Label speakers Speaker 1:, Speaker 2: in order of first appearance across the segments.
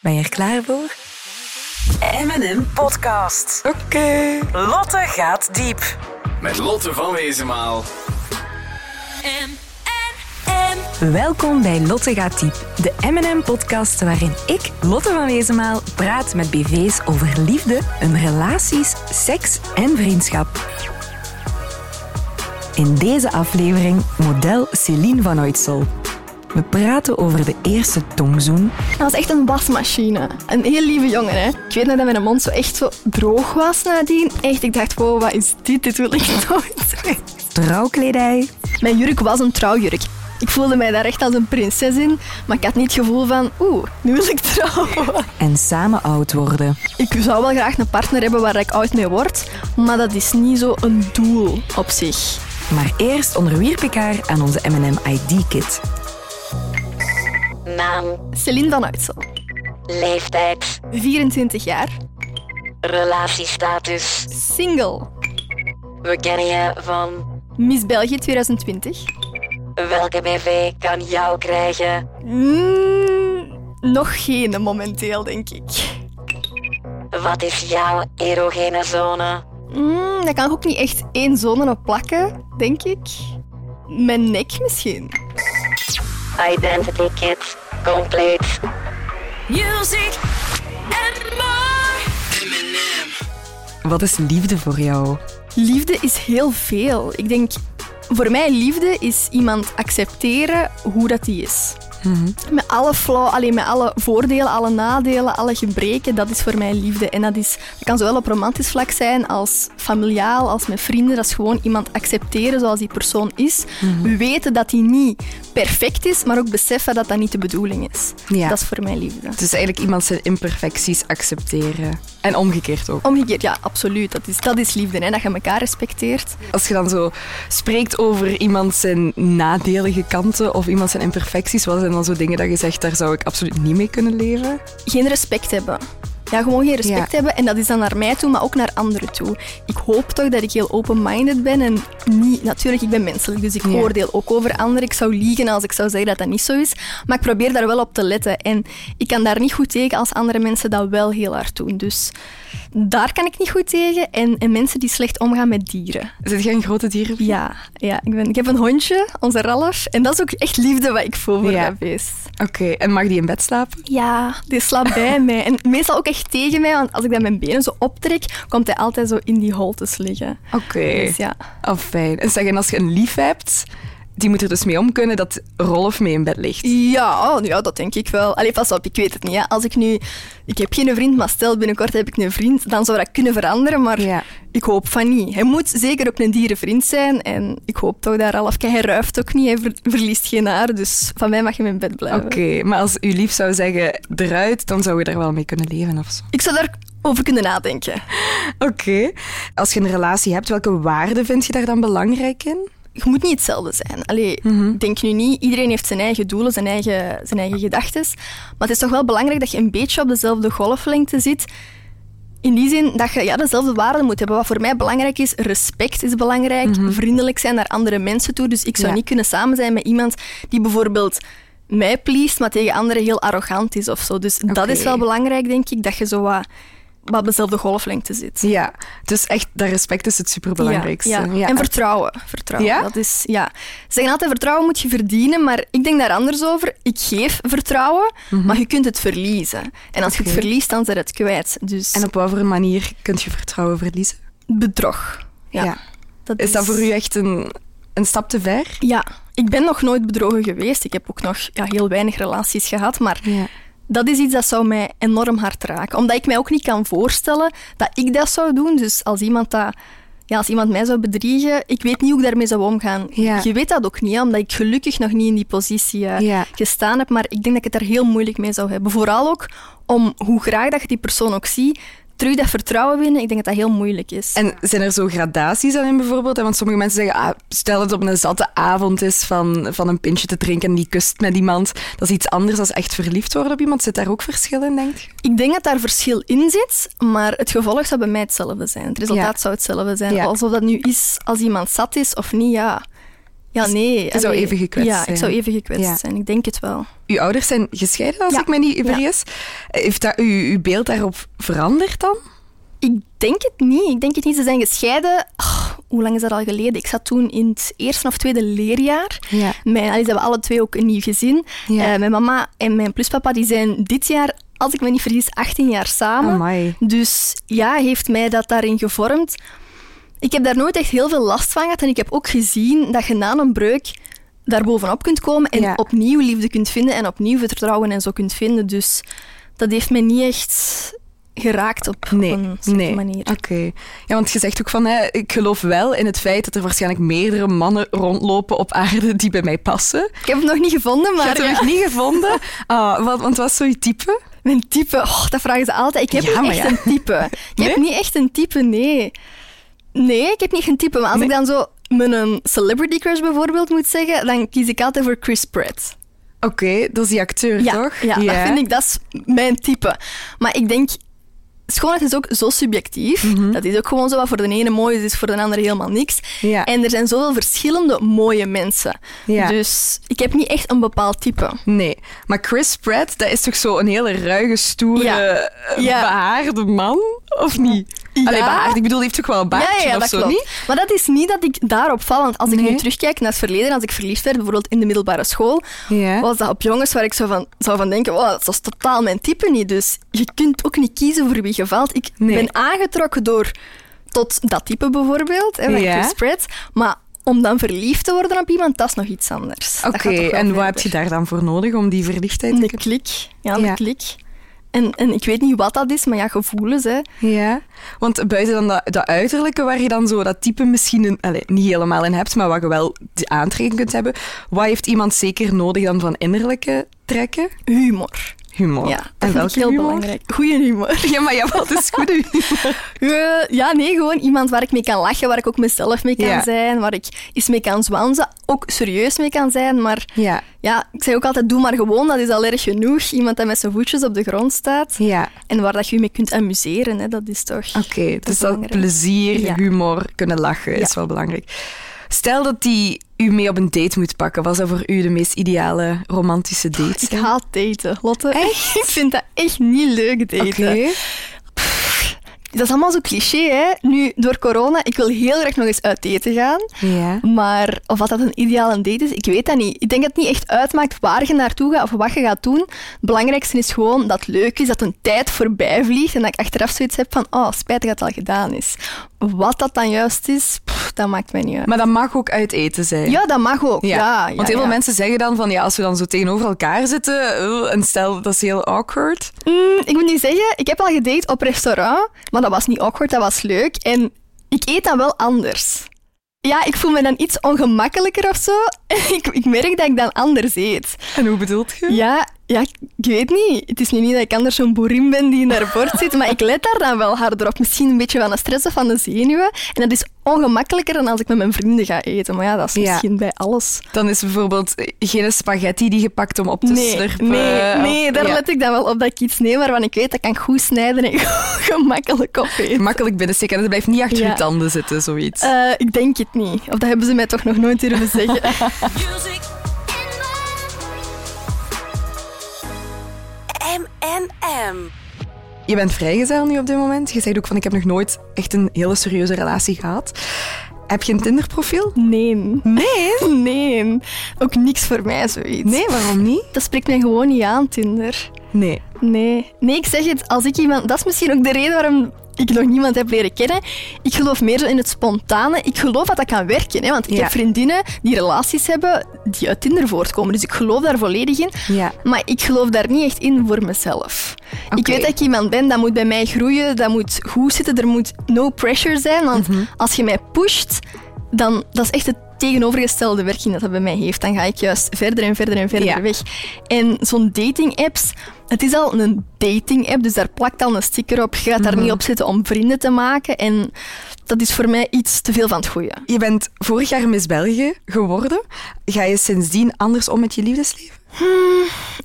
Speaker 1: Ben je er klaar voor?
Speaker 2: M&M Podcast.
Speaker 1: Oké.
Speaker 2: Lotte gaat diep.
Speaker 3: Met Lotte van Wezenmaal.
Speaker 1: Welkom bij Lotte gaat diep, de M&M podcast waarin ik, Lotte van Wezenmaal, praat met BV's over liefde, hun relaties, seks en vriendschap. In deze aflevering model Céline van Oitsel. We praten over de eerste tongzoen,
Speaker 4: Dat was echt een wasmachine. Een heel lieve jongen, hè. Ik weet nog dat mijn mond zo echt zo droog was nadien. Echt, ik dacht, wow, wat is dit? Dit wil ik nooit. doen.
Speaker 1: trouwkledij,
Speaker 4: Mijn jurk was een trouwjurk. Ik voelde mij daar echt als een prinses in, maar ik had niet het gevoel van, oeh, nu wil ik trouwen.
Speaker 1: en samen oud worden.
Speaker 4: Ik zou wel graag een partner hebben waar ik oud mee word, maar dat is niet zo een doel op zich.
Speaker 1: Maar eerst onderwierp ik haar aan onze M&M ID-kit.
Speaker 5: Naam,
Speaker 4: Celine van Uitsel,
Speaker 5: leeftijd,
Speaker 4: 24 jaar,
Speaker 5: relatiestatus.
Speaker 4: single,
Speaker 5: We kennen je van
Speaker 4: Miss België 2020.
Speaker 5: welke BV kan jou krijgen?
Speaker 4: Mm, nog geen momenteel, denk ik.
Speaker 5: Wat is jouw erogene zone?
Speaker 4: Mm, daar kan ik ook niet echt één zone op plakken, denk ik. Mijn nek misschien.
Speaker 5: Identity kit, compleet.
Speaker 1: Wat is liefde voor jou?
Speaker 4: Liefde is heel veel. Ik denk, voor mij liefde is iemand accepteren hoe dat die is. Met alle flaw, alleen met alle voordelen, alle nadelen, alle gebreken, dat is voor mij liefde. En dat, is, dat kan zowel op romantisch vlak zijn als familiaal, als met vrienden. Dat is gewoon iemand accepteren zoals die persoon is. Weten dat die niet perfect is, maar ook beseffen dat dat niet de bedoeling is.
Speaker 6: Ja.
Speaker 4: Dat is voor mij liefde.
Speaker 6: Dus eigenlijk iemand zijn imperfecties accepteren. En omgekeerd ook.
Speaker 4: Omgekeerd, ja, absoluut. Dat is, dat is liefde, hè? dat je elkaar respecteert.
Speaker 6: Als je dan zo spreekt over iemand zijn nadelige kanten of iemand zijn imperfecties, wat zijn dan zo dingen dat je zegt, daar zou ik absoluut niet mee kunnen leven?
Speaker 4: Geen respect hebben. Ja, gewoon geen respect
Speaker 6: Ja.
Speaker 4: hebben. En dat is dan naar mij toe, maar ook naar anderen toe. Ik hoop toch dat ik heel open-minded ben en niet... Natuurlijk, ik ben menselijk, dus ik
Speaker 6: Ja.
Speaker 4: oordeel ook over anderen. Ik zou liegen als ik zou zeggen dat dat niet zo is. Maar ik probeer daar wel op te letten. En ik kan daar niet goed tegen als andere mensen dat wel heel hard doen. Dus daar kan ik niet goed tegen. En, en mensen die slecht omgaan met dieren.
Speaker 6: Zit jij een grote dieren?
Speaker 4: Ja, ja ik, ben, ik heb een hondje, onze Ralf. En dat is ook echt liefde wat ik voel voor
Speaker 6: Ja.
Speaker 4: dat beest.
Speaker 6: Oké, en mag die in bed slapen?
Speaker 4: Ja, die slaapt bij mij. En meestal ook echt tegen mij, want als ik dan mijn benen zo optrek, komt hij altijd zo in die holtes liggen.
Speaker 6: Oké.
Speaker 4: Dus ja,
Speaker 6: Oh, fijn. En zeg, en als je een lief hebt, die moet er dus mee om kunnen dat Rolf mee in bed ligt.
Speaker 4: Ja, oh, ja, dat denk ik wel. Allee, pas op, ik weet het niet. Hè. Als ik nu... Ik heb geen vriend, maar stel binnenkort heb ik een vriend, dan zou dat kunnen veranderen, maar
Speaker 6: Ja.
Speaker 4: ik hoop van niet. Hij moet zeker ook een dierenvriend zijn en ik hoop toch daar al af. Hij ruift ook niet, hij ver- verliest geen haar, dus van mij mag je in mijn bed blijven.
Speaker 6: Oké, maar als uw lief zou zeggen eruit, dan zou je daar wel mee kunnen leven of zo.
Speaker 4: Ik zou daarover kunnen nadenken.
Speaker 6: Oké. Als je een relatie hebt, welke waarden vind je daar dan belangrijk in?
Speaker 4: je moet niet hetzelfde zijn. Allee,
Speaker 6: Mhm.
Speaker 4: denk nu niet, iedereen heeft zijn eigen doelen, zijn eigen, zijn eigen gedachten. Maar het is toch wel belangrijk dat je een beetje op dezelfde golflengte zit. In die zin dat je ja, dezelfde waarden moet hebben. Wat voor mij belangrijk is, respect is belangrijk. Vriendelijk zijn naar andere mensen toe. Dus ik zou
Speaker 6: Mhm. Ja.
Speaker 4: niet kunnen samen zijn met iemand die bijvoorbeeld mij pleest, maar tegen anderen heel arrogant is of zo. Dus dat
Speaker 6: Oké.
Speaker 4: is wel belangrijk, denk ik, dat je zo wat, wat op dezelfde golflengte zit.
Speaker 6: Ja, dus echt, dat respect is het superbelangrijkste.
Speaker 4: Ja, ja. En vertrouwen. vertrouwen.
Speaker 6: Ja?
Speaker 4: Dat is, ja. Ze zeggen altijd, vertrouwen moet je verdienen, maar ik denk daar anders over. Ik geef vertrouwen, maar je kunt het verliezen. En als je
Speaker 6: Mhm. Oké.
Speaker 4: het verliest, dan zit het kwijt. Dus
Speaker 6: En op wat voor manier kun je vertrouwen verliezen?
Speaker 4: bedrog. Ja. Dat
Speaker 6: Is dat voor u echt een, een stap te ver?
Speaker 4: Ja. Ik ben nog nooit bedrogen geweest. Ik heb ook nog ja, heel weinig relaties gehad, maar...
Speaker 6: Ja.
Speaker 4: Dat is iets dat zou mij enorm hard raken. Omdat ik mij ook niet kan voorstellen dat ik dat zou doen. Dus als iemand, dat, ja, als iemand mij zou bedriegen, ik weet niet hoe ik daarmee zou omgaan.
Speaker 6: Ja.
Speaker 4: Je weet dat ook niet, hè, omdat ik gelukkig nog niet in die positie eh,
Speaker 6: Ja.
Speaker 4: gestaan heb. Maar ik denk dat ik het daar heel moeilijk mee zou hebben. Vooral ook om, hoe graag dat je die persoon ook ziet, terug dat vertrouwen winnen. Ik denk dat dat heel moeilijk is.
Speaker 6: En zijn er zo gradaties aan in bijvoorbeeld? Want sommige mensen zeggen, ah, stel dat het op een zatte avond is van, van een pintje te drinken en die kust met iemand. Dat is iets anders dan echt verliefd worden op iemand. Zit daar ook verschil in, denk je?
Speaker 4: Ik denk dat daar verschil in zit, maar het gevolg zou bij mij hetzelfde zijn. Het resultaat
Speaker 6: Ja.
Speaker 4: zou hetzelfde zijn.
Speaker 6: Ja.
Speaker 4: Alsof dat nu is als iemand zat is of niet, ja. Ja, nee.
Speaker 1: je Dus zou
Speaker 4: allee.
Speaker 1: even gekwetst
Speaker 4: Ja,
Speaker 1: zijn.
Speaker 4: ik zou even gekwetst
Speaker 1: Ja.
Speaker 4: zijn. Ik denk het wel.
Speaker 1: Uw ouders zijn gescheiden, als
Speaker 4: Ja.
Speaker 1: ik me niet
Speaker 4: Ja.
Speaker 1: vergis. Heeft dat, uw, uw beeld daarop veranderd dan?
Speaker 4: Ik denk het niet. Ik denk het niet. Ze zijn gescheiden. Ah, hoe lang is dat al geleden? Ik zat toen in het eerste of tweede leerjaar.
Speaker 1: Ja.
Speaker 4: Mijn, allee, ze hebben alle twee ook een nieuw gezin.
Speaker 1: Ja.
Speaker 4: Eh, mijn mama en mijn pluspapa die zijn dit jaar, als ik me niet vergis, 18 jaar samen.
Speaker 1: Amai.
Speaker 4: Dus ja, heeft mij dat daarin gevormd. Ik heb daar nooit echt heel veel last van gehad. En ik heb ook gezien dat je na een breuk daar bovenop kunt komen en
Speaker 1: Ja.
Speaker 4: opnieuw liefde kunt vinden en opnieuw vertrouwen en zo kunt vinden. Dus dat heeft me niet echt geraakt op
Speaker 1: Nee,
Speaker 4: een slechte
Speaker 1: nee.
Speaker 4: manier.
Speaker 1: Oké. Ja, want je zegt ook van, hè, ik geloof wel in het feit dat er waarschijnlijk meerdere mannen rondlopen op aarde die bij mij passen.
Speaker 4: Ik heb het nog niet gevonden,
Speaker 1: Je
Speaker 4: maar
Speaker 1: hebt hem
Speaker 4: Ah, ja.
Speaker 1: nog niet gevonden. Ah, wat, want wat is zo'n type?
Speaker 4: mijn type, oh, dat vragen ze altijd. Ik heb
Speaker 1: Ja,
Speaker 4: niet
Speaker 1: maar
Speaker 4: echt
Speaker 1: ja.
Speaker 4: een type. Ik heb niet echt een type, nee. Nee, ik heb niet echt een type. Maar als ik dan zo mijn een celebrity crush bijvoorbeeld moet zeggen, dan kies ik altijd voor Chris Pratt.
Speaker 1: Oké, dat is die acteur,
Speaker 4: Ja,
Speaker 1: toch?
Speaker 4: ja, dat vind ik, dat is mijn type. Maar ik denk, schoonheid is ook zo subjectief.
Speaker 1: Mhm.
Speaker 4: Dat is ook gewoon zo wat voor de ene mooi is, is voor de andere helemaal niks.
Speaker 1: Ja.
Speaker 4: En er zijn zoveel verschillende mooie mensen.
Speaker 1: Ja.
Speaker 4: Dus ik heb niet echt een bepaald type.
Speaker 1: Nee, maar Chris Pratt, dat is toch zo'n hele ruige, stoere,
Speaker 4: Ja.
Speaker 1: eh,
Speaker 4: Ja.
Speaker 1: behaarde man? Of niet? Allee, behaard. Ik bedoel, die heeft toch wel een baardje of zo, niet?
Speaker 4: Maar dat is niet dat ik daarop val. Want als ik
Speaker 1: Nee.
Speaker 4: nu terugkijk naar het verleden, als ik verliefd werd, bijvoorbeeld in de middelbare school,
Speaker 1: Ja.
Speaker 4: was dat op jongens waar ik zo van, zou van denken, wow, dat is totaal mijn type niet. Dus je kunt ook niet kiezen voor wie je valt. Ik
Speaker 1: Nee.
Speaker 4: ben aangetrokken door tot dat type bijvoorbeeld, hè, van
Speaker 1: Ja.
Speaker 4: Chris Pratt. Maar om dan verliefd te worden op iemand, dat is nog iets anders. Dat
Speaker 1: Oké,
Speaker 4: gaat toch wel
Speaker 1: en wat heb
Speaker 4: verder. Mm.
Speaker 1: je daar dan voor nodig om die verliefdheid te
Speaker 4: Een
Speaker 1: kunnen-
Speaker 4: klik. Ja, een
Speaker 1: Ja.
Speaker 4: klik. En, en ik weet niet wat dat is, maar ja, gevoelens, hè.
Speaker 1: Ja, want buiten dan dat, dat uiterlijke, waar je dan zo dat type misschien een- allee, niet helemaal in hebt, maar wat je wel de aantrekking kunt hebben, wat heeft iemand zeker nodig dan van innerlijke trekken?
Speaker 4: Humor.
Speaker 1: Humor.
Speaker 4: Ja, dat
Speaker 1: Oh. en
Speaker 4: vind
Speaker 1: welke
Speaker 4: ik heel
Speaker 1: humor?
Speaker 4: belangrijk. Goeie humor.
Speaker 1: Ja, maar ja, wat is goed humor?
Speaker 4: Eh, ja, nee, gewoon iemand waar ik mee kan lachen, waar ik ook mezelf mee kan
Speaker 1: Ja.
Speaker 4: zijn, waar ik eens mee kan zwansen, ook serieus mee kan zijn. Maar
Speaker 1: Ja,
Speaker 4: ja, ik zeg ook altijd, doe maar gewoon, dat is al erg genoeg. Iemand dat met zijn voetjes op de grond staat
Speaker 1: ja.
Speaker 4: en waar dat je je mee kunt amuseren, hè, dat is toch...
Speaker 1: Oké, dus dat
Speaker 4: belangrijk.
Speaker 1: plezier,
Speaker 4: Ja.
Speaker 1: humor, kunnen lachen is
Speaker 4: Ja.
Speaker 1: wel belangrijk. Stel dat die u mee op een date moet pakken, was dat voor u de meest ideale romantische date?
Speaker 4: Ik haat daten, Lotte. ik vind dat echt niet leuk, daten.
Speaker 1: Oké.
Speaker 4: Dat is allemaal zo cliché, hè. Nu, door corona, ik wil heel graag nog eens uit eten gaan.
Speaker 1: Ja.
Speaker 4: Maar of wat dat een ideale date is, ik weet dat niet. Ik denk dat het niet echt uitmaakt waar je naartoe gaat of wat je gaat doen. Het belangrijkste is gewoon dat het leuk is, dat een tijd voorbij vliegt en dat ik achteraf zoiets heb van, oh, spijtig dat het al gedaan is. Wat dat dan juist is, pff, dat maakt mij niet uit.
Speaker 1: Maar dat mag ook uit eten zijn.
Speaker 4: ja, dat mag ook. Ja, ja,
Speaker 1: Want heel veel
Speaker 4: ja.
Speaker 1: mensen zeggen dan van ja, als we dan zo tegenover elkaar zitten eh, en stel dat is heel awkward.
Speaker 4: Mm, ik moet niet zeggen, ik heb al gedate op restaurant, maar dat was niet awkward, dat was leuk. En ik eet dan wel anders. Ja, ik voel me dan iets ongemakkelijker of zo. ik, ik merk dat ik dan anders eet.
Speaker 1: En hoe bedoelt je?
Speaker 4: Ja, ja, ik ik weet niet. Het is nu niet dat ik anders zo'n boerin ben die in haar bord zit, maar ik let daar dan wel harder op. Misschien een beetje van de stress of van de zenuwen. En dat is ongemakkelijker dan als ik met mijn vrienden ga eten. Maar ja, dat is
Speaker 1: Ja.
Speaker 4: misschien bij alles.
Speaker 1: Dan is bijvoorbeeld eh, geen spaghetti die gepakt om op te
Speaker 4: nee,
Speaker 1: slurpen. eh,
Speaker 4: nee,
Speaker 1: of-
Speaker 4: nee, daar
Speaker 1: ja.
Speaker 4: let ik dan wel op dat ik iets neem waarvan ik weet dat ik kan goed snijden en gemakkelijk opeten.
Speaker 1: Makkelijk binnensteken en het blijft niet achter
Speaker 4: Ja.
Speaker 1: je tanden zitten, zoiets.
Speaker 4: Eh, ik denk het niet. Of dat hebben ze mij toch nog nooit durven zeggen.
Speaker 7: M&M.
Speaker 1: Je bent vrijgezel nu op dit moment. Je zei ook van ik heb nog nooit echt een hele serieuze relatie gehad. Heb je een Tinder-profiel?
Speaker 4: Nee. Nee? Nee. Ook niks voor mij, zoiets.
Speaker 1: Nee, waarom niet?
Speaker 4: Dat spreekt mij gewoon niet aan, Tinder.
Speaker 1: Nee.
Speaker 4: Nee. Nee, ik zeg het, als ik iemand... Dat is misschien ook de reden waarom ik nog niemand heb leren kennen. Ik geloof meer zo in het spontane. Ik geloof dat dat kan werken, hè. Want ik
Speaker 1: Ja.
Speaker 4: heb vriendinnen die relaties hebben die uit Tinder voortkomen. Dus ik geloof daar volledig in.
Speaker 1: Ja.
Speaker 4: Maar ik geloof daar niet echt in voor mezelf. Ik
Speaker 1: Oké.
Speaker 4: weet dat ik iemand ben, dat moet bij mij groeien, dat moet goed zitten, er moet no pressure zijn. Want
Speaker 1: Mhm.
Speaker 4: als je mij pusht, dan dat is echt het tegenovergestelde werking dat dat bij mij heeft. Dan ga ik juist verder en verder en verder
Speaker 1: Ja.
Speaker 4: weg. En zo'n dating-apps, het is al een dating-app, dus daar plakt al een sticker op. Je gaat
Speaker 1: Mhm.
Speaker 4: daar niet op zitten om vrienden te maken. En dat is voor mij iets te veel van het goede.
Speaker 1: Je bent vorig jaar Miss België geworden. Ga je sindsdien anders om met je liefdesleven?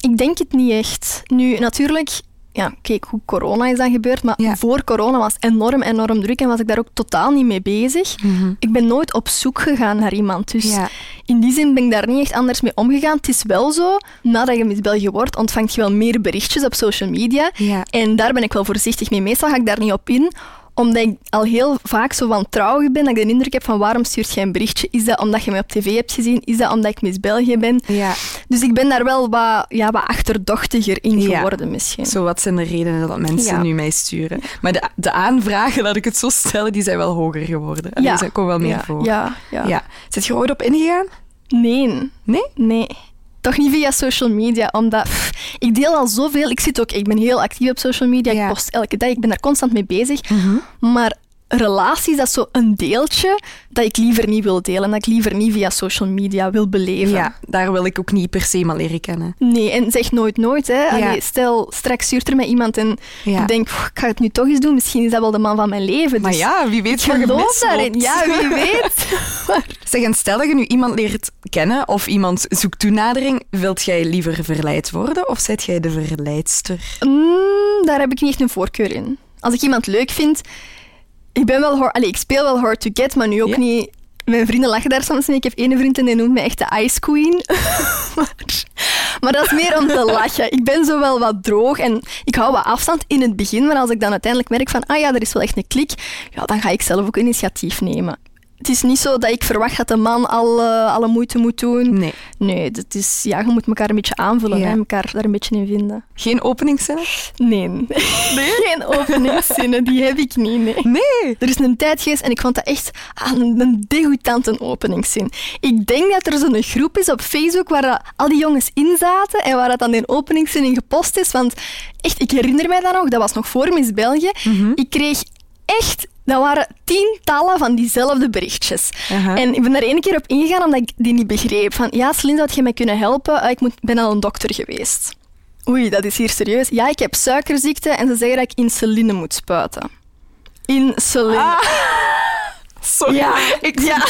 Speaker 4: Ik denk het niet echt. Nu, natuurlijk, ja, keek hoe corona is dan gebeurd. Maar
Speaker 6: Ja.
Speaker 4: voor corona was het enorm, enorm druk en was ik daar ook totaal niet mee bezig. Ik ben nooit op zoek gegaan naar iemand. Dus
Speaker 6: Mhm. Ja.
Speaker 4: in die zin ben ik daar niet echt anders mee omgegaan. Het is wel zo, nadat je Miss België wordt, ontvang je wel meer berichtjes op social media.
Speaker 6: Ja.
Speaker 4: En daar ben ik wel voorzichtig mee. Meestal ga ik daar niet op in omdat ik al heel vaak zo wantrouwig ben, dat ik de indruk heb van waarom stuurt jij een berichtje? Is dat omdat je mij op tv hebt gezien? Is dat omdat ik Miss België ben?
Speaker 6: Ja.
Speaker 4: Dus ik ben daar wel wat, ja, wat achterdochtiger in
Speaker 6: Ja.
Speaker 4: geworden misschien.
Speaker 6: Zo, wat zijn de redenen dat mensen
Speaker 4: Ja.
Speaker 6: nu mij sturen? Maar de, de aanvragen, laat ik het zo stellen, die zijn wel hoger geworden. Ja. Dus dat komt wel meer
Speaker 4: ja.
Speaker 6: voor.
Speaker 4: Ja, ja.
Speaker 6: Ja. Zit je er ooit op ingegaan?
Speaker 4: Nee,
Speaker 6: Nee?
Speaker 4: nee. Toch niet via social media, omdat pff, ik deel al zoveel. Ik zit ook, ik ben heel actief op social media.
Speaker 6: Ja. Mhm.
Speaker 4: Ik post elke dag, ik ben daar constant mee bezig. Maar relaties, dat is zo een deeltje dat ik liever niet wil delen. Dat ik liever niet via social media wil beleven.
Speaker 6: Ja, daar wil ik ook niet per se maar leren kennen.
Speaker 4: Nee, en zeg nooit nooit. Hè. Allee, stel, straks stuurt er mij iemand en
Speaker 6: Ja.
Speaker 4: ik denk, "Pff, ik ga het nu toch eens doen. Misschien is dat wel de man van mijn leven.
Speaker 6: Maar
Speaker 4: Dus
Speaker 6: ja, wie weet
Speaker 4: ik
Speaker 6: waar je
Speaker 4: geloof
Speaker 6: misloopt.
Speaker 4: daarin. Ja, wie weet.
Speaker 6: Zeg, en stel dat je nu iemand leert kennen of iemand zoekt toenadering, wilt jij liever verleid worden of zijt jij de verleidster?
Speaker 4: Mm, daar heb ik niet echt een voorkeur in. Als ik iemand leuk vind, ik ben wel hard, allee, ik speel wel hard to get, maar nu ook
Speaker 6: Ja.
Speaker 4: niet. Mijn vrienden lachen daar soms mee. Ik heb ene vriend en die noemt mij echt de Ice Queen. maar, maar dat is meer om te lachen. Ik ben zo wel wat droog en ik hou wat afstand in het begin. Maar als ik dan uiteindelijk merk van, ah ja, er is wel echt een klik, ja, dan ga ik zelf ook initiatief nemen. Het is niet zo dat ik verwacht dat de man al, eh, alle moeite moet doen.
Speaker 6: Nee.
Speaker 4: Nee, dat is, ja, je moet elkaar een beetje aanvullen,
Speaker 6: Ja.
Speaker 4: hè, elkaar daar een beetje in vinden.
Speaker 6: Geen openingszinnen?
Speaker 4: Nee. Geen openingszinnen, die heb ik niet, nee.
Speaker 6: Nee.
Speaker 4: Er is een tijd geweest en ik vond dat echt ah, een een degoutante openingszin. Ik denk dat er zo'n groep is op Facebook waar dat al die jongens in zaten en waar dat dan een openingszin in gepost is. Want echt, ik herinner mij dat nog, dat was nog voor Miss België. Ik kreeg echt... Dat waren tientallen van diezelfde berichtjes.
Speaker 6: Aha.
Speaker 4: En ik ben daar één keer op ingegaan omdat ik die niet begreep. Van, ja, Celine, zou je mij kunnen helpen? Eh, Ik moet, ben al een dokter geweest. Oei, dat is hier serieus. Ja, ik heb suikerziekte en ze zeggen dat ik insuline moet spuiten. Insuline. Ah.
Speaker 6: Sorry.
Speaker 4: Ja.
Speaker 6: Ik ja.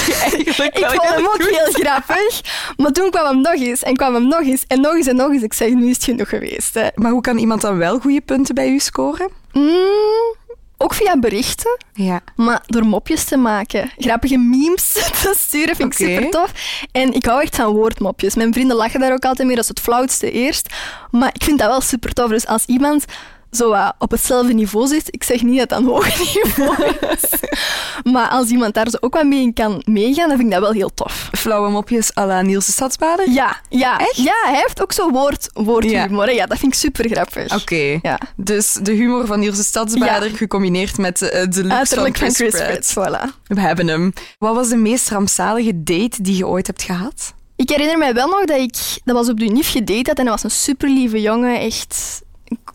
Speaker 4: ik
Speaker 6: eigenlijk wel
Speaker 4: vond hem
Speaker 6: heel
Speaker 4: ook
Speaker 6: goed.
Speaker 4: heel grappig. Maar toen kwam hem nog eens en kwam hem nog eens en nog eens en nog eens. Ik zeg, nu is het genoeg geweest. Hè.
Speaker 6: Maar hoe kan iemand dan wel goede punten bij u scoren?
Speaker 4: Mm, ook via berichten,
Speaker 6: Ja.
Speaker 4: maar door mopjes te maken. Grappige memes te sturen vind ik
Speaker 6: Oké.
Speaker 4: super tof. En ik hou echt van woordmopjes. Mijn vrienden lachen daar ook altijd mee, dat is het flauwste eerst. Maar ik vind dat wel super tof. Dus als iemand zo wat op hetzelfde niveau zit, ik zeg niet dat dat een hoog niveau is. maar als iemand daar zo ook wat mee in kan meegaan, dan vind ik dat wel heel tof.
Speaker 6: Flauwe mopjes à la Niels de Stadsbader?
Speaker 4: Ja, ja.
Speaker 6: Echt?
Speaker 4: Ja, hij heeft ook zo'n woord, woordhumor. hè. Ja. dat vind ik super grappig.
Speaker 6: Oké.
Speaker 4: Ja.
Speaker 6: Dus de humor van Niels de Stadsbader
Speaker 4: Ja.
Speaker 6: gecombineerd met eh, de looks
Speaker 4: Uiterlijk van Chris
Speaker 6: Pratt.
Speaker 4: Pratt, voilà.
Speaker 6: We hebben hem. Wat was de meest rampzalige date die je ooit hebt gehad?
Speaker 4: Ik herinner mij wel nog dat ik, dat was op de UNIF gedate had en hij was een super lieve jongen, echt,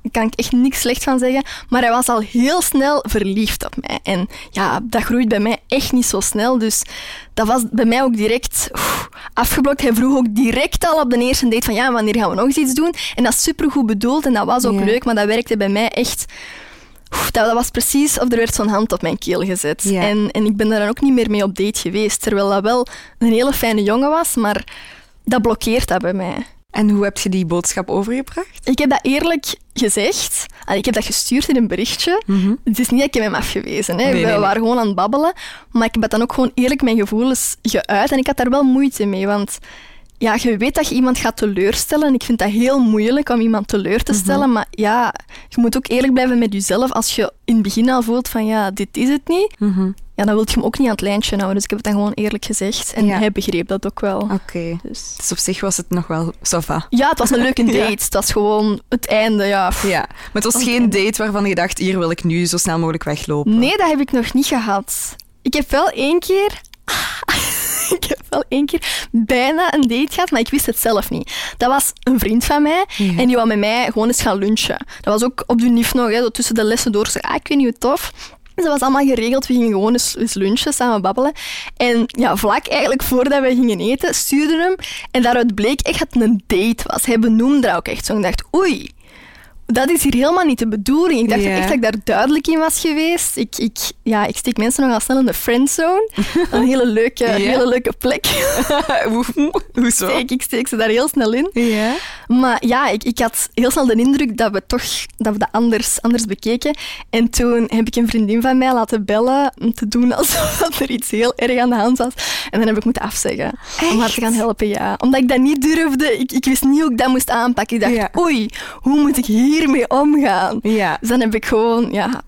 Speaker 4: daar kan ik echt niks slecht van zeggen, maar hij was al heel snel verliefd op mij. En ja, dat groeit bij mij echt niet zo snel, dus dat was bij mij ook direct oef, afgeblokt. Hij vroeg ook direct al op de eerste date van ja, wanneer gaan we nog eens iets doen? En dat is supergoed bedoeld en dat was ook
Speaker 6: Ja.
Speaker 4: leuk, maar dat werkte bij mij echt... oef, dat dat was precies of er werd zo'n hand op mijn keel gezet.
Speaker 6: Ja.
Speaker 4: En, en ik ben daar dan ook niet meer mee op date geweest. Terwijl dat wel een hele fijne jongen was, maar dat blokkeert dat bij mij.
Speaker 6: En hoe heb je die boodschap overgebracht?
Speaker 4: Ik heb dat eerlijk gezegd. Allee, Ik heb dat gestuurd in een berichtje. Het is niet dat ik hem heb afgewezen. Hè.
Speaker 6: Mhm. Nee, nee,
Speaker 4: We
Speaker 6: nee.
Speaker 4: waren gewoon aan het babbelen. Maar ik heb dan ook gewoon eerlijk mijn gevoelens geuit. En ik had daar wel moeite mee. Want ja, je weet dat je iemand gaat teleurstellen. En ik vind dat heel moeilijk om iemand teleur
Speaker 6: Mhm.
Speaker 4: te stellen. Maar ja, je moet ook eerlijk blijven met jezelf. Als je in het begin al voelt van ja, dit is het niet.
Speaker 6: Mhm.
Speaker 4: Ja, dan wil je hem ook niet aan het lijntje houden. Dus ik heb het dan gewoon eerlijk gezegd. En
Speaker 6: Ja.
Speaker 4: hij begreep dat ook wel.
Speaker 6: Oké.
Speaker 4: Dus.
Speaker 6: Dus op zich was het nog wel sava.
Speaker 4: Ja, het was een leuke date. Het was gewoon het einde, ja. pff.
Speaker 6: Ja, maar het was geen date waarvan je dacht, hier wil ik nu zo snel mogelijk weglopen.
Speaker 4: Nee, dat heb ik nog niet gehad. Ik heb wel één keer. ik heb wel één keer bijna een date gehad, maar ik wist het zelf niet. Dat was een vriend van mij en die wou met mij gewoon eens gaan lunchen. Dat was ook op de NIF nog, hè, zo tussen de lessen door. Ik zei, ah, ik weet niet hoe tof. Dus dat was allemaal geregeld. We gingen gewoon eens, eens lunchen, samen babbelen. En ja, vlak eigenlijk voordat we gingen eten, stuurde hem. En daaruit bleek echt dat het een date was. Hij benoemde dat ook echt zo. Ik dacht, oei, Dat is hier helemaal niet de bedoeling. Ik dacht
Speaker 6: Ja.
Speaker 4: echt dat ik daar duidelijk in was geweest. Ik, ik, ja, ik steek mensen nogal snel in de friendzone. Een hele leuke,
Speaker 6: Ja.
Speaker 4: hele leuke plek.
Speaker 6: Hoe- Hoezo?
Speaker 4: Ik, ik steek ze daar heel snel in.
Speaker 6: Ja.
Speaker 4: Maar ja, ik, ik had heel snel de indruk dat we toch dat, we dat anders, anders bekeken. En toen heb ik een vriendin van mij laten bellen om te doen alsof dat er iets heel erg aan de hand was. En dan heb ik moeten afzeggen om haar te gaan helpen, ja. Omdat ik dat niet durfde. Ik, ik wist niet hoe ik dat moest aanpakken. Ik dacht,
Speaker 6: Ja.
Speaker 4: oei, hoe moet ik hiermee omgaan?
Speaker 6: Ja.
Speaker 4: Dus dan heb ik gewoon, ja...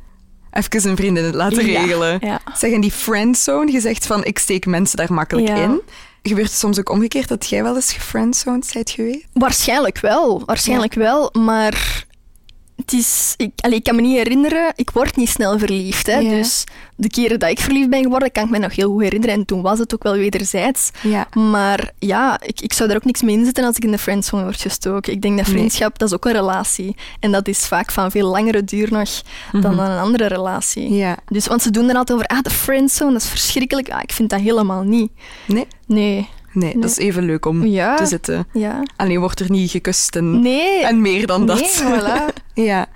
Speaker 6: Even een vriendin het laten
Speaker 4: Ja,
Speaker 6: regelen.
Speaker 4: ja.
Speaker 6: Zeg, in die friendzone, je zegt van ik steek mensen daar makkelijk
Speaker 4: Ja.
Speaker 6: in. Gebeurt het soms ook omgekeerd dat jij wel eens gefriendzoned bent geweest?
Speaker 4: Waarschijnlijk wel, waarschijnlijk wel, maar... Het is, ik, allee, ik kan me niet herinneren, ik word niet snel verliefd. Hè,
Speaker 6: Ja.
Speaker 4: Dus de keren dat ik verliefd ben geworden, kan ik me nog heel goed herinneren. En toen was het ook wel wederzijds.
Speaker 6: Ja.
Speaker 4: Maar ja, ik, ik zou daar ook niks mee inzetten als ik in de friendzone word gestoken. Ik denk dat vriendschap, dat is ook een relatie. En dat is vaak van veel langere duur nog dan een andere relatie.
Speaker 6: Mhm. Ja.
Speaker 4: Dus, want ze doen er altijd over, ah, de friendzone, dat is verschrikkelijk. Ah, ik vind dat helemaal niet.
Speaker 6: Nee?
Speaker 4: Nee,
Speaker 6: Nee, dat is even leuk om
Speaker 4: Ja.
Speaker 6: te zitten.
Speaker 4: ja.
Speaker 6: Alleen wordt er niet gekust en,
Speaker 4: Nee.
Speaker 6: en meer dan dat.
Speaker 4: Nee, voilà.
Speaker 6: ja.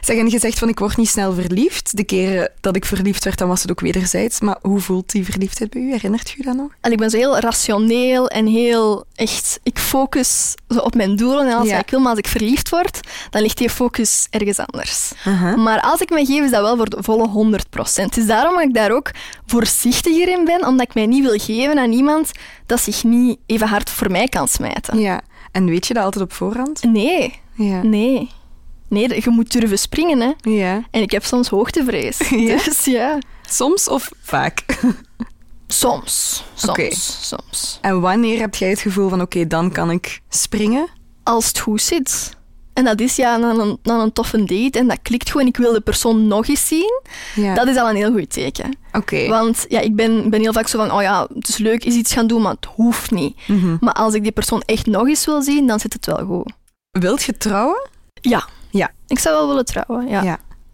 Speaker 6: Zeg, en je zegt van ik word niet snel verliefd. De keren dat ik verliefd werd, dan was het ook wederzijds. Maar hoe voelt die verliefdheid bij u? Herinnert u dat nog?
Speaker 4: En ik ben zo heel rationeel en heel echt. Ik focus zo op mijn doelen en alles
Speaker 6: Ja.
Speaker 4: wat ik wil. Maar als ik verliefd word, dan ligt die focus ergens anders. Maar als ik me geef, is dat wel voor de volle 100%. Het is daarom dat ik daar ook voorzichtiger in ben, omdat ik mij niet wil geven aan iemand dat zich niet even hard voor mij kan smijten.
Speaker 6: Ja. En weet je dat altijd op voorhand?
Speaker 4: Nee,
Speaker 6: Ja.
Speaker 4: nee. Nee, je moet durven springen, hè.
Speaker 6: Ja.
Speaker 4: En ik heb soms hoogtevrees.
Speaker 6: Ja?
Speaker 4: Dus ja,
Speaker 6: Soms of vaak?
Speaker 4: soms. Soms.
Speaker 6: Oké.
Speaker 4: Soms.
Speaker 6: En wanneer heb jij het gevoel van oké, dan kan ik springen?
Speaker 4: als het goed zit. En dat is ja, na een, na een toffe date en dat klikt gewoon, ik wil de persoon nog eens zien.
Speaker 6: Ja.
Speaker 4: Dat is al een heel goed teken.
Speaker 6: Oké.
Speaker 4: Want ja, ik ben, ben heel vaak zo van, oh ja, het is leuk is iets gaan doen, maar het hoeft niet.
Speaker 6: Mhm.
Speaker 4: Maar als ik die persoon echt nog eens wil zien, dan zit het wel goed.
Speaker 6: Wilt je trouwen?
Speaker 4: Ja.
Speaker 6: Ja.
Speaker 4: Ik zou wel willen trouwen, ja.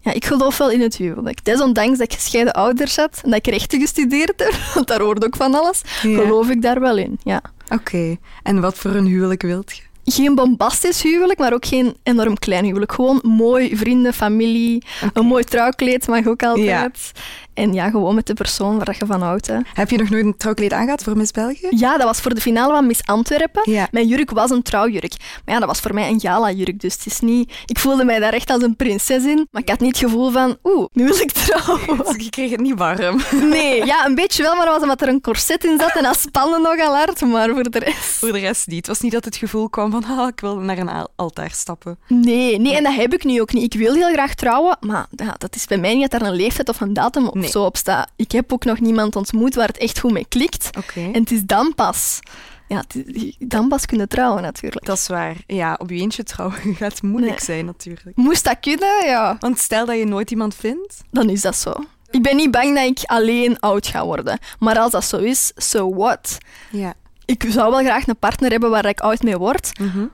Speaker 4: ja. ik geloof wel in het huwelijk. Desondanks dat ik gescheiden ouders had en dat ik rechten gestudeerd heb, want daar hoort ook van alles,
Speaker 6: Ja.
Speaker 4: geloof ik daar wel in, ja.
Speaker 6: Oké. En wat voor een huwelijk wilt je?
Speaker 4: geen bombastisch huwelijk, maar ook geen enorm klein huwelijk. Gewoon mooi vrienden, familie, een mooi trouwkleed mag ook altijd. En ja, gewoon met de persoon waar je van houdt. Hè.
Speaker 6: Heb je nog nooit een trouwkleed aangehad voor Miss België?
Speaker 4: Ja, dat was voor de finale van Miss Antwerpen.
Speaker 6: Ja.
Speaker 4: Mijn jurk was een trouwjurk. Maar ja, dat was voor mij een gala-jurk, dus het is niet... Ik voelde mij daar echt als een prinses in, maar ik had niet het gevoel van... Oeh, nu wil ik trouwen.
Speaker 6: Je kreeg het niet warm.
Speaker 4: Nee, ja, een beetje wel, maar dat was omdat er een corset in zat en dat spande nogal hard, maar voor de rest...
Speaker 6: voor de rest niet. Het was niet dat het gevoel kwam van ah, ik wil naar een al- altaar stappen.
Speaker 4: Nee, nee, en dat heb ik nu ook niet. Ik wil heel graag trouwen, maar ja, dat is bij mij niet dat daar een leeftijd of een datum op
Speaker 6: Nee.
Speaker 4: zo op staat. Ik heb ook nog niemand ontmoet waar het echt goed mee klikt.
Speaker 6: Oké.
Speaker 4: En het is dan pas. Ja, het is- dan pas kunnen trouwen natuurlijk.
Speaker 6: Dat is waar. Ja, op je eentje trouwen gaat moeilijk
Speaker 4: Nee.
Speaker 6: zijn natuurlijk.
Speaker 4: Moest dat kunnen, ja,
Speaker 6: Want stel dat je nooit iemand vindt.
Speaker 4: dan is dat zo. Ik ben niet bang dat ik alleen oud ga worden. Maar als dat zo is, so what?
Speaker 6: Ja.
Speaker 4: Ik zou wel graag een partner hebben waar ik oud mee word,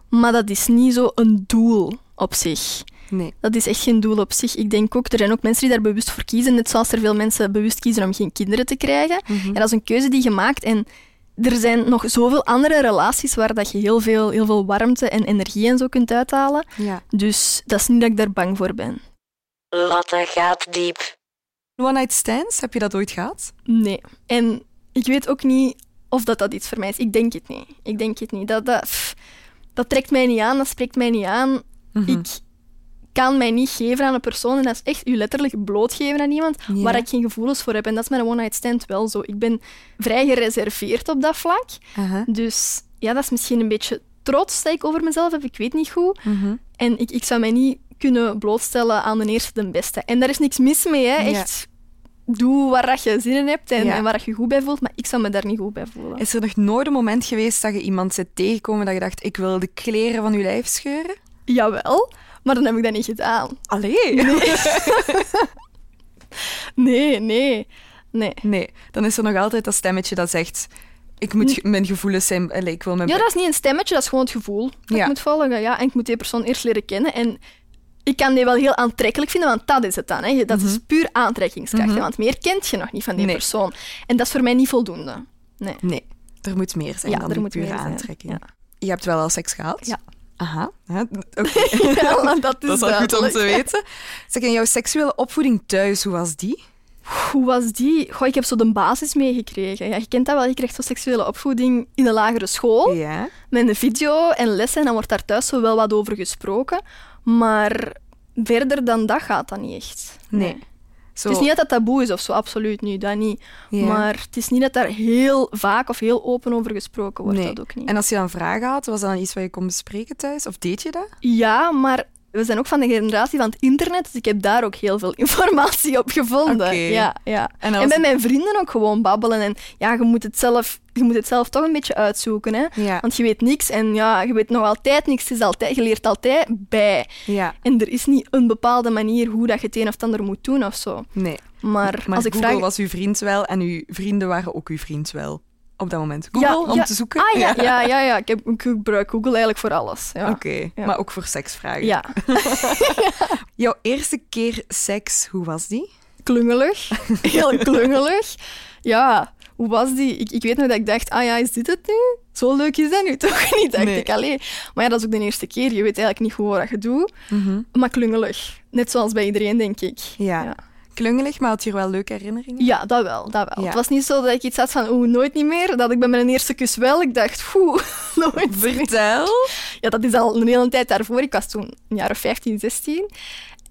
Speaker 4: maar dat is niet zo een doel op zich.
Speaker 6: Nee.
Speaker 4: Dat is echt geen doel op zich. Ik denk ook, er zijn ook mensen die daar bewust voor kiezen. Net zoals er veel mensen bewust kiezen om geen kinderen te krijgen. En dat is een keuze die je maakt. En er zijn nog zoveel andere relaties waar dat je heel veel, heel veel warmte en energie en zo kunt uithalen.
Speaker 6: Ja.
Speaker 4: Dus dat is niet dat ik daar bang voor ben.
Speaker 5: Lotte gaat diep.
Speaker 6: One night stands, heb je dat ooit gehad?
Speaker 4: Nee. En ik weet ook niet of dat, dat iets voor mij is. Ik denk het niet. Ik denk het niet. Dat, dat, pff, dat trekt mij niet aan, dat spreekt mij niet aan. Ik kan mij niet geven aan een persoon. En dat is echt u letterlijk blootgeven aan iemand
Speaker 6: Ja.
Speaker 4: waar ik geen gevoelens voor heb. En dat is met een one-night stand wel zo. Ik ben vrij gereserveerd op dat vlak.
Speaker 6: Aha.
Speaker 4: Dus ja, dat is misschien een beetje trots dat ik over mezelf heb. Ik weet niet goed.
Speaker 6: Mhm.
Speaker 4: En ik, ik zou mij niet kunnen blootstellen aan de eerste de beste. En daar is niks mis mee, hè.
Speaker 6: Ja.
Speaker 4: Echt, doe waar dat je zin in hebt en,
Speaker 6: Ja.
Speaker 4: en waar dat je goed bij voelt. Maar ik zou me daar niet goed bij voelen.
Speaker 6: Is er nog nooit een moment geweest dat je iemand zit tegenkomen dat je dacht, ik wil de kleren van uw lijf scheuren?
Speaker 4: Jawel, maar dan heb ik dat niet gedaan.
Speaker 6: Allee.
Speaker 4: Nee, nee, nee.
Speaker 6: Nee, dan is er nog altijd dat stemmetje dat zegt: Ik moet ge- mijn gevoelens zijn, allee, ik wil mijn.
Speaker 4: Hm. Ja, dat is niet een stemmetje, dat is gewoon het gevoel dat
Speaker 6: Ja.
Speaker 4: ik moet volgen. Ja, en ik moet die persoon eerst leren kennen. En ik kan die wel heel aantrekkelijk vinden, want dat is het dan. Hè. Dat is puur aantrekkingskracht. hè, Want meer kent je nog niet van die
Speaker 6: Mhm. Nee.
Speaker 4: persoon. En dat is voor mij niet voldoende. Nee.
Speaker 6: Nee, er moet meer zijn
Speaker 4: Ja,
Speaker 6: dan
Speaker 4: er
Speaker 6: die
Speaker 4: moet
Speaker 6: pure
Speaker 4: meer zijn,
Speaker 6: aantrekking.
Speaker 4: ja.
Speaker 6: Je hebt wel al seks gehad?
Speaker 4: Ja.
Speaker 6: Aha. Ja, Oké,
Speaker 4: Ja, dat is,
Speaker 6: dat is wel goed om
Speaker 4: duidelijk.
Speaker 6: te weten. Zeg, en jouw seksuele opvoeding thuis, hoe was die?
Speaker 4: Hoe was die? Goh, ik heb zo de basis meegekregen. Ja, je kent dat wel, je krijgt zo seksuele opvoeding in de lagere school.
Speaker 6: Ja.
Speaker 4: met een video en lessen en dan wordt daar thuis zo wel wat over gesproken. Maar verder dan dat gaat dat niet echt.
Speaker 6: Nee. Zo.
Speaker 4: Het is niet dat dat taboe is of zo, absoluut niet, dat niet.
Speaker 6: Ja.
Speaker 4: Maar het is niet dat daar heel vaak of heel open over gesproken wordt,
Speaker 6: Nee.
Speaker 4: dat ook niet.
Speaker 6: En als je dan vragen had, was dat dan iets wat je kon bespreken thuis? Of deed je dat?
Speaker 4: Ja, maar we zijn ook van de generatie van het internet, dus ik heb daar ook heel veel informatie op gevonden.
Speaker 6: Oké.
Speaker 4: Ja, ja.
Speaker 6: En
Speaker 4: En,
Speaker 6: dat was-
Speaker 4: met mijn vrienden ook gewoon babbelen. En ja, je moet het zelf, je moet het zelf toch een beetje uitzoeken, hè.
Speaker 6: Ja.
Speaker 4: Want je weet niks en ja, je weet nog altijd niks. Het is altijd, je leert altijd bij.
Speaker 6: Ja.
Speaker 4: En er is niet een bepaalde manier hoe dat je het een of het ander moet doen of zo.
Speaker 6: Nee.
Speaker 4: Maar,
Speaker 6: Maar
Speaker 4: als ik
Speaker 6: Google
Speaker 4: vraag...
Speaker 6: was uw vriend wel en uw vrienden waren ook uw vriend wel. Op dat moment.
Speaker 4: Ja,
Speaker 6: Google om
Speaker 4: ja.
Speaker 6: te zoeken?
Speaker 4: Ah ja, ja, ja. ja. Ik, heb, ik gebruik Google eigenlijk voor alles. Ja.
Speaker 6: Oké,
Speaker 4: Ja.
Speaker 6: maar ook voor seksvragen.
Speaker 4: Ja,
Speaker 6: Jouw eerste keer seks, hoe was die?
Speaker 4: klungelig. Heel klungelig. Ja, hoe was die? Ik, ik weet nog dat ik dacht, ah ja, is dit het nu? Zo leuk is dat nu toch niet, dacht
Speaker 6: Nee.
Speaker 4: ik. Allee. Maar ja, dat is ook de eerste keer. Je weet eigenlijk niet goed wat je doet. Maar klungelig. Net zoals bij iedereen, denk ik.
Speaker 6: Ja.
Speaker 4: Ja.
Speaker 6: Klungelig, maar had je er wel leuke herinneringen?
Speaker 4: Ja, dat wel, dat wel.
Speaker 6: Ja.
Speaker 4: Het was niet zo dat ik iets had van, oeh, nooit niet meer. Dat ik bij mijn eerste kus wel, ik dacht, oeh, nooit meer.
Speaker 6: Vertel.
Speaker 4: Ja, dat is al een hele tijd daarvoor. Ik was toen een jaar of 15, 16.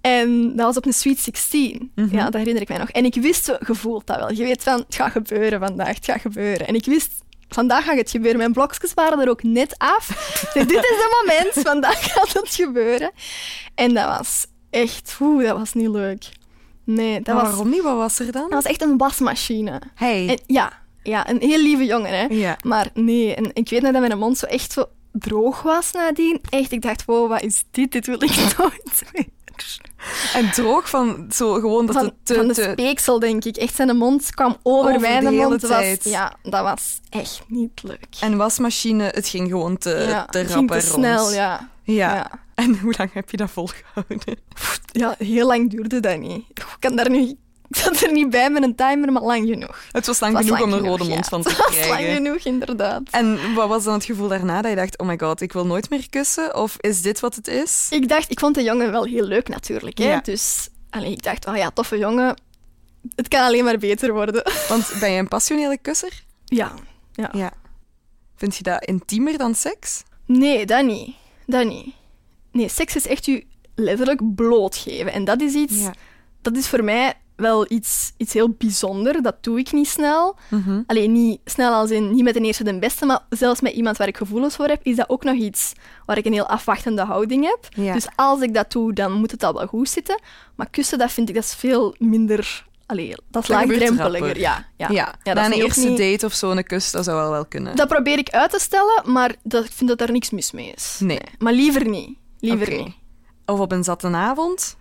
Speaker 4: En dat was op een Sweet 16.
Speaker 6: Mhm.
Speaker 4: Ja, dat herinner ik mij nog. En ik wist, zo, je voelt dat wel. Je weet van, het gaat gebeuren vandaag, het gaat gebeuren. En ik wist, vandaag gaat het gebeuren. Mijn blokjes waren er ook net af. Ik zei, dit is het moment, vandaag gaat het gebeuren. En dat was echt, oeh, dat was niet leuk. Nee, dat
Speaker 6: Maar
Speaker 4: was,
Speaker 6: waarom niet? Wat was er dan?
Speaker 4: dat was echt een wasmachine.
Speaker 6: Hey.
Speaker 4: En, ja, ja, een heel lieve jongen, hè.
Speaker 6: Ja.
Speaker 4: Maar nee, en ik weet nog dat mijn mond zo echt zo droog was nadien. Echt, ik dacht, wow, wat is dit? Dit wil ik nooit meer.
Speaker 6: En droog van zo gewoon dat
Speaker 4: Van,
Speaker 6: het te,
Speaker 4: van de
Speaker 6: te-
Speaker 4: speeksel, denk ik. Echt, zijn mond kwam over,
Speaker 6: Over
Speaker 4: mijn
Speaker 6: de hele
Speaker 4: mond. Het was-
Speaker 6: tijd.
Speaker 4: ja, dat was echt niet leuk.
Speaker 6: En wasmachine, het ging gewoon te,
Speaker 4: ja,
Speaker 6: te
Speaker 4: het
Speaker 6: rap
Speaker 4: ging te
Speaker 6: en rond.
Speaker 4: snel, ja.
Speaker 6: Ja.
Speaker 4: Ja.
Speaker 6: En hoe lang heb je dat volgehouden?
Speaker 4: Ja, heel lang duurde dat niet. Ik kan daar nu... Ik zat er niet bij met een timer, maar lang genoeg.
Speaker 6: Het was lang
Speaker 4: Het was
Speaker 6: genoeg
Speaker 4: lang
Speaker 6: om een rode
Speaker 4: genoeg, ja.
Speaker 6: mond van
Speaker 4: Het
Speaker 6: te
Speaker 4: was lang
Speaker 6: krijgen.
Speaker 4: genoeg, inderdaad.
Speaker 6: En wat was dan het gevoel daarna dat je dacht, oh my god, ik wil nooit meer kussen? Of is dit wat het is?
Speaker 4: Ik dacht, ik vond de jongen wel heel leuk natuurlijk. Hè?
Speaker 6: Ja.
Speaker 4: Dus allee, ik dacht, oh ja, toffe jongen. Het kan alleen maar beter worden.
Speaker 6: Want ben je een passionele kusser?
Speaker 4: Ja.
Speaker 6: Ja. Vind je dat intiemer dan seks?
Speaker 4: Nee, dat niet. Dat niet. Nee, seks is echt u letterlijk blootgeven. En dat is iets, dat is voor mij wel iets, iets heel bijzonder. Dat doe ik niet snel.
Speaker 6: Mhm.
Speaker 4: Alleen niet snel als in, niet met de eerste de beste, maar zelfs met iemand waar ik gevoelens voor heb, is dat ook nog iets waar ik een heel afwachtende houding heb.
Speaker 6: Ja.
Speaker 4: Dus als ik dat doe, dan moet het al wel goed zitten. Maar kussen, dat vind ik, dat is veel minder... Allee, dat is
Speaker 6: Dat gebeurt
Speaker 4: laagdrempeliger.
Speaker 6: rapper.
Speaker 4: Ja, ja. dat
Speaker 6: Na
Speaker 4: vind
Speaker 6: een
Speaker 4: ik ook
Speaker 6: eerste
Speaker 4: niet-
Speaker 6: date of zo, een kus, dat zou wel wel kunnen.
Speaker 4: Dat probeer ik uit te stellen, maar dat, ik vind dat daar niks mis mee is.
Speaker 6: Nee.
Speaker 4: Maar liever niet. Liever
Speaker 6: Oké.
Speaker 4: niet.
Speaker 6: Of op een zatte avond?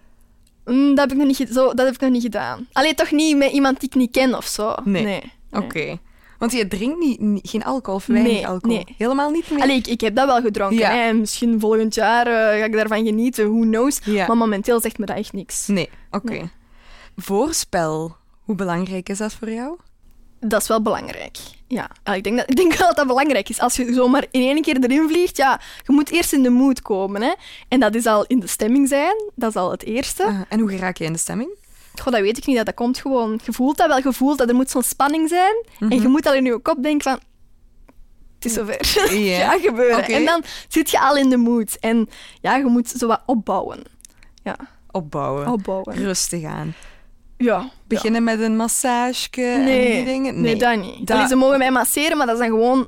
Speaker 4: Mm, dat, heb ik nog niet ge- zo, dat heb ik nog niet gedaan. Allee, toch niet met iemand die ik niet ken of zo.
Speaker 6: Nee.
Speaker 4: nee.
Speaker 6: Oké. Want je drinkt niet, niet- geen alcohol of weinig
Speaker 4: Nee,
Speaker 6: alcohol?
Speaker 4: nee.
Speaker 6: Helemaal niet meer?
Speaker 4: Allee, ik, ik heb dat wel gedronken.
Speaker 6: Ja.
Speaker 4: Hè. Misschien volgend jaar eh, ga ik daarvan genieten, who knows.
Speaker 6: Ja.
Speaker 4: Maar momenteel zegt me dat echt niks.
Speaker 6: Nee, oké. Voorspel, hoe belangrijk is dat voor jou?
Speaker 4: Dat is wel belangrijk. Ja, Ja, ik denk, dat, ik denk wel dat dat belangrijk is. Als je zomaar in één keer erin vliegt, ja, je moet eerst in de mood komen. Hè. En dat is al in de stemming zijn, dat is al het eerste.
Speaker 6: Ah, en hoe geraak je in de stemming?
Speaker 4: Goh, dat weet ik niet, dat, dat komt gewoon. Je voelt dat wel, je voelt dat er moet zo'n spanning zijn. En je moet al in je kop denken van... Het is zover.
Speaker 6: Mhm. Ja.
Speaker 4: ja, gebeuren.
Speaker 6: Oké.
Speaker 4: En dan zit je al in de mood. En ja, je moet zo wat opbouwen. Ja,
Speaker 6: Opbouwen.
Speaker 4: opbouwen.
Speaker 6: Rustig aan.
Speaker 4: Ja.
Speaker 6: Beginnen met een massage
Speaker 4: ja.
Speaker 6: en
Speaker 4: Nee.
Speaker 6: die dingen?
Speaker 4: nee, dat niet.
Speaker 6: Dat-
Speaker 4: Allee, ze mogen mij masseren, maar dat is dan gewoon...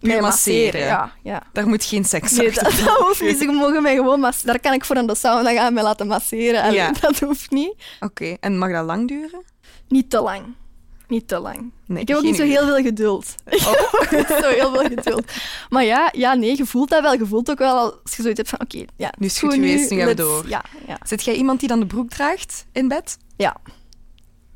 Speaker 4: Mij
Speaker 6: masseren.
Speaker 4: Ja, ja.
Speaker 6: Daar moet geen seks
Speaker 4: Nee,
Speaker 6: achter
Speaker 4: dat, dat
Speaker 6: zitten.
Speaker 4: hoeft niet. Ze mogen mij gewoon masseren. Daar kan ik voor aan de sauna gaan, mij laten masseren. Allee,
Speaker 6: Ja.
Speaker 4: Dat hoeft niet.
Speaker 6: Oké, en mag dat lang duren?
Speaker 4: Niet te lang. Niet te lang.
Speaker 6: Nee,
Speaker 4: ik heb ook niet zo
Speaker 6: geen Oh.
Speaker 4: heel veel geduld. Ik heb ook niet zo heel veel geduld. Maar ja, ja, nee, je voelt dat wel. Je voelt ook wel als je zoiets hebt van, oké, ja,
Speaker 6: Nu is het goed geweest, nu gaan we
Speaker 4: let's-
Speaker 6: door.
Speaker 4: Ja, ja.
Speaker 6: Zit jij iemand die dan de broek draagt in bed?
Speaker 4: ja.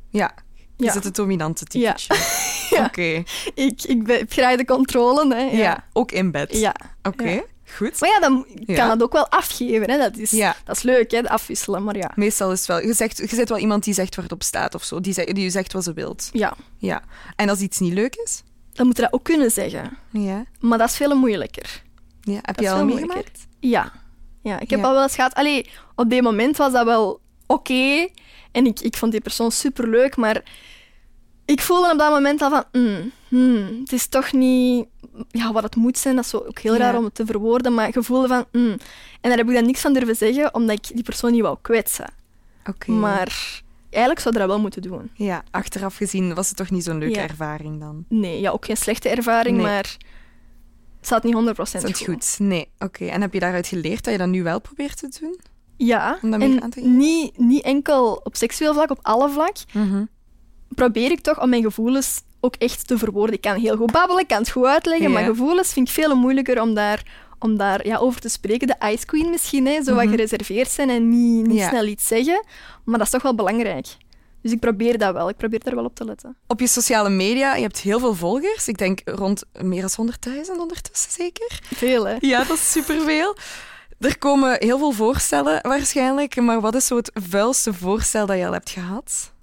Speaker 6: Ja. Je
Speaker 4: Ja.
Speaker 6: zit Dus het dominante typetje.
Speaker 4: Ja.
Speaker 6: Oké.
Speaker 4: Ik, ik ben- ik krijg de controle, hè.
Speaker 6: Ja.
Speaker 4: Ja. ja.
Speaker 6: ook in bed. Oké,
Speaker 4: Ja.
Speaker 6: goed.
Speaker 4: Maar ja, dan kan
Speaker 6: Ja.
Speaker 4: het ook wel afgeven, hè. Dat is,
Speaker 6: Ja.
Speaker 4: dat is leuk, hè, het afwisselen. Maar ja,
Speaker 6: Meestal is het wel... Je, zegt, je zit wel iemand die zegt waar het op staat of zo. Die, zegt, die je zegt wat ze wilt.
Speaker 4: ja.
Speaker 6: Ja. En als iets niet leuk is?
Speaker 4: dan moet je dat ook kunnen zeggen.
Speaker 6: Ja.
Speaker 4: Maar dat is veel moeilijker.
Speaker 6: ja. Heb
Speaker 4: Dat
Speaker 6: je
Speaker 4: is
Speaker 6: al
Speaker 4: veel
Speaker 6: meegemaakt?
Speaker 4: moeilijker. Ja. ja. Ik heb
Speaker 6: Ja.
Speaker 4: al wel eens gehad... Allee, op dit moment was dat wel oké. En ik, ik vond die persoon superleuk, maar... Ik voelde op dat moment al van... mm, hmm, het is toch niet... Ja, wat het moet zijn, dat is zo ook heel
Speaker 6: Ja.
Speaker 4: raar om het te verwoorden, maar ik voelde van... mm. En daar heb ik dan niks van durven zeggen, omdat ik die persoon niet wou kwetsen.
Speaker 6: Oké.
Speaker 4: Maar eigenlijk zou je dat wel moeten doen.
Speaker 6: Ja, achteraf gezien was het toch niet zo'n leuke
Speaker 4: Ja.
Speaker 6: ervaring dan?
Speaker 4: Nee, ja, ook geen slechte ervaring,
Speaker 6: Nee.
Speaker 4: maar... Het staat niet 100%
Speaker 6: Is dat goed? Nee, oké. En heb je daaruit geleerd dat je dat nu wel probeert te doen?
Speaker 4: Ja,
Speaker 6: Om dat meer aan
Speaker 4: en
Speaker 6: te geven?
Speaker 4: niet, niet enkel op seksueel vlak, op alle vlak. Probeer ik toch om mijn gevoelens ook echt te verwoorden. Ik kan heel goed babbelen, ik kan het goed uitleggen,
Speaker 6: Ja.
Speaker 4: maar gevoelens vind ik veel moeilijker om daar, om daar ja, over te spreken. De Ice Queen misschien, hè, zo wat gereserveerd zijn en niet, niet
Speaker 6: Mhm. Ja.
Speaker 4: snel iets zeggen. Maar dat is toch wel belangrijk. Dus ik probeer dat wel, ik probeer daar wel op te letten.
Speaker 6: Op je sociale media, je hebt heel veel volgers. Ik denk rond meer dan 100.000 ondertussen zeker.
Speaker 4: Veel, hè?
Speaker 6: Ja, dat is superveel. Er komen heel veel voorstellen waarschijnlijk. Maar wat is zo het vuilste voorstel dat je al hebt gehad?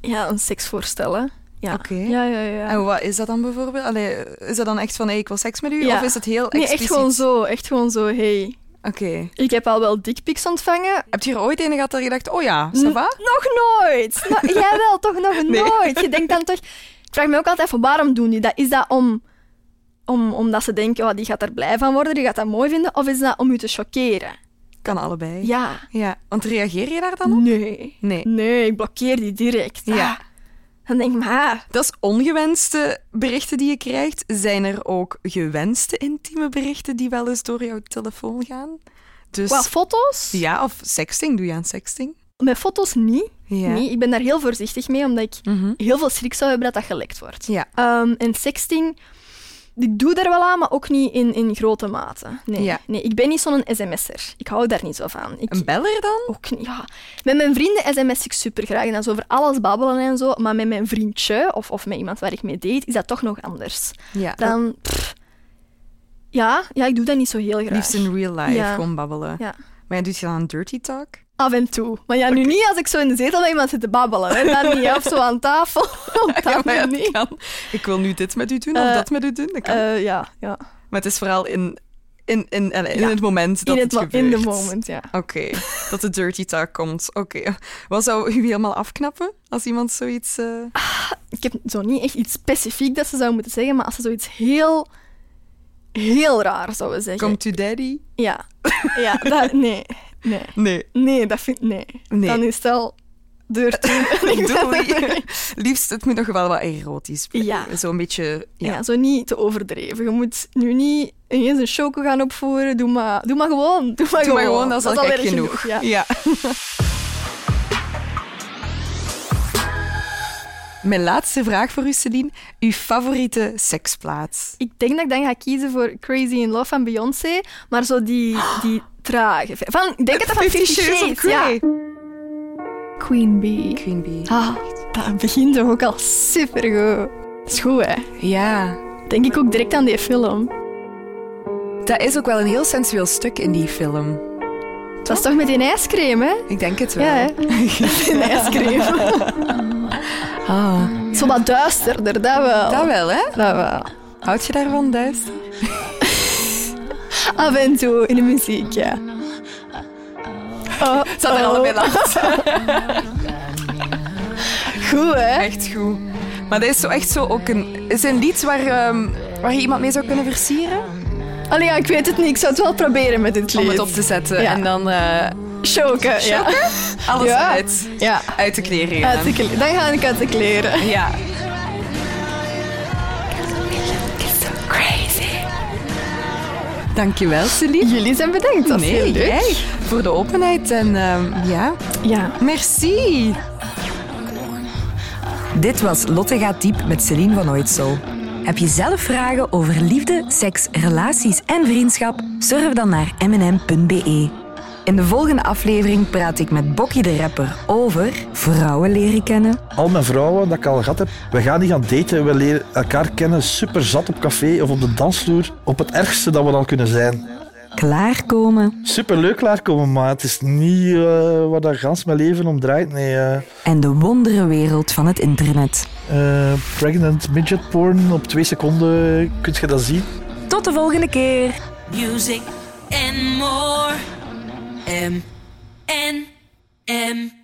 Speaker 4: Ja, een seksvoorstel, hè. Ja.
Speaker 6: Oké. Ah,
Speaker 4: ja, ja, ja.
Speaker 6: En wat is dat dan bijvoorbeeld? Allee, is dat dan echt van, hey, ik wil seks met u?
Speaker 4: Ja.
Speaker 6: Of is het heel
Speaker 4: nee,
Speaker 6: expliciet?
Speaker 4: echt gewoon zo, echt gewoon zo, hey.
Speaker 6: Oké.
Speaker 4: Ik heb al wel dickpics ontvangen,
Speaker 6: Heb je er ooit een gehad dat je dacht, oh ja, ça va?
Speaker 4: N- Nog nooit. No- jij wel, toch nog nooit. Je denkt dan toch... Ik vraag me ook altijd af, waarom doen die dat? Is dat om, om, omdat ze denken, oh, die gaat er blij van worden, die gaat dat mooi vinden? Of is dat om u te choqueren?
Speaker 6: Kan allebei.
Speaker 4: Ja. Mm.
Speaker 6: Ja, want reageer je daar dan op?
Speaker 4: Nee.
Speaker 6: Nee.
Speaker 4: Nee, ik blokkeer die direct.
Speaker 6: Ja.
Speaker 4: Ah. Dan denk ik, maar... ah,
Speaker 6: Dat is ongewenste berichten die je krijgt. Zijn er ook gewenste intieme berichten die wel eens door jouw telefoon gaan? Dus
Speaker 4: Wat, foto's?
Speaker 6: ja, of sexting. Doe je aan sexting?
Speaker 4: Met foto's niet.
Speaker 6: Ja. Mhm.
Speaker 4: Nee, ik ben daar heel voorzichtig mee, omdat ik heel veel schrik zou hebben dat dat gelekt wordt.
Speaker 6: Ja.
Speaker 4: Ehm, en sexting, ik doe daar wel aan, maar ook niet in, in grote mate. Nee,
Speaker 6: Ja.
Speaker 4: nee, ik ben niet zo'n sms'er. Ik hou daar niet zo van. Ik,
Speaker 6: Een beller dan?
Speaker 4: ook niet, ja. Met mijn vrienden sms ik super graag en dat is over alles babbelen en zo, maar met mijn vriendje of, of met iemand waar ik mee date, is dat toch nog anders.
Speaker 6: Ja.
Speaker 4: Dan, pff, ja, ja, ik doe dat niet zo heel graag.
Speaker 6: Liefst in real life,
Speaker 4: Ja.
Speaker 6: gewoon babbelen.
Speaker 4: Ja.
Speaker 6: Maar ja, doet je dan een dirty talk?
Speaker 4: Af en toe. Maar ja, nu niet als ik zo in de zetel met iemand zit te babbelen. Hè. Dan niet, hè. of zo aan tafel. Op
Speaker 6: Ja,
Speaker 4: dat
Speaker 6: maar ja, dat
Speaker 4: niet.
Speaker 6: kan. Ik wil nu dit met u doen, of
Speaker 4: Eh,
Speaker 6: dat met u doen. Dat kan.
Speaker 4: Eh, ja, ja.
Speaker 6: maar het is vooral in, in, in, in, in
Speaker 4: Ja.
Speaker 6: het moment dat
Speaker 4: In, het,
Speaker 6: het
Speaker 4: mo- in
Speaker 6: gebeurt.
Speaker 4: de moment, ja.
Speaker 6: Oké, dat de dirty talk komt. Oké. Wat zou u helemaal afknappen als iemand zoiets... eh,
Speaker 4: Ik heb zo niet echt iets specifiek dat ze zou moeten zeggen, maar als ze zoiets heel, heel raar zouden zeggen.
Speaker 6: Komt u daddy?
Speaker 4: Ja. Ja, dat, nee. Nee.
Speaker 6: Nee.
Speaker 4: Nee, dat vind ik... Nee.
Speaker 6: Nee.
Speaker 4: Dan is het al deur toe. En ik ben-
Speaker 6: Doei. Liefst, het moet nog wel wat erotisch.
Speaker 4: Ja.
Speaker 6: Zo'n beetje... Ja.
Speaker 4: Ja. zo niet te overdreven. Je moet nu niet ineens een choco gaan opvoeren. Doe maar, doe maar gewoon. Doe maar,
Speaker 6: Doe maar gewoon, dat is al gek
Speaker 4: erg
Speaker 6: genoeg.
Speaker 4: ja.
Speaker 6: Mijn laatste vraag voor u, Celine. Uw favoriete seksplaats?
Speaker 4: Ik denk dat ik dan ga kiezen voor Crazy in Love van Beyoncé, maar zo die, die trage. Van, ik denk dat dat van Fifty Shades, ja. Queen Bee.
Speaker 6: Queen Bee.
Speaker 4: Ah, dat begint toch ook al supergoed. Dat is goed, hè?
Speaker 6: Ja.
Speaker 4: Denk ik ook direct aan die film.
Speaker 6: Dat is ook wel een heel sensueel stuk in die film.
Speaker 4: Dat is toch met die ijscreme, hè?
Speaker 6: Ik denk het wel.
Speaker 4: Ja, hè? Die ijscreme.
Speaker 6: Ah.
Speaker 4: zo wat duisterder, dat wel.
Speaker 6: Dat wel, hè?
Speaker 4: Dat wel.
Speaker 6: Houd je daarvan, Duister?
Speaker 4: Af en toe in de muziek, ja. Oh,
Speaker 6: Zat er
Speaker 4: oh.
Speaker 6: allebei langs.
Speaker 4: Goed, hè?
Speaker 6: Echt goed. Maar dat is zo echt zo ook een... Is een lied waar, ehm, waar je iemand mee zou kunnen versieren?
Speaker 4: Allee, ja, ik weet het niet. Ik zou het wel proberen met dit lied.
Speaker 6: Om het op te zetten.
Speaker 4: Ja.
Speaker 6: En dan eh,
Speaker 4: Choken, ja.
Speaker 6: alles
Speaker 4: Ja.
Speaker 6: uit.
Speaker 4: Ja.
Speaker 6: Uit de kleren.
Speaker 4: Uit de kle- Dan ga ik uit de kleren.
Speaker 6: Ja. Dankjewel, Celine.
Speaker 4: Jullie zijn bedankt, dat is
Speaker 6: nee,
Speaker 4: heel leuk.
Speaker 6: jij voor de openheid. En ehm, ja,
Speaker 4: Ja.
Speaker 6: merci.
Speaker 1: Dit was Lotte gaat diep met Celine van Ooitsel. Heb je zelf vragen over liefde, seks, relaties en vriendschap? Surf dan naar mnm.be. E. In de volgende aflevering praat ik met Bokkie de Rapper over vrouwen leren kennen.
Speaker 8: al mijn vrouwen dat ik al gehad heb, we gaan niet gaan daten, we leren elkaar kennen, super zat op café of op de dansvloer, op het ergste dat we dan kunnen zijn.
Speaker 1: Klaarkomen
Speaker 8: Super leuk klaarkomen, maar het is niet eh waar dat gans mijn leven om draait. Nee, eh
Speaker 1: en de wondere wereld van het internet.
Speaker 8: eh, pregnant midget porn, op twee seconden kun je dat zien.
Speaker 1: Tot de volgende keer!
Speaker 2: Music
Speaker 7: and more. M, N, M.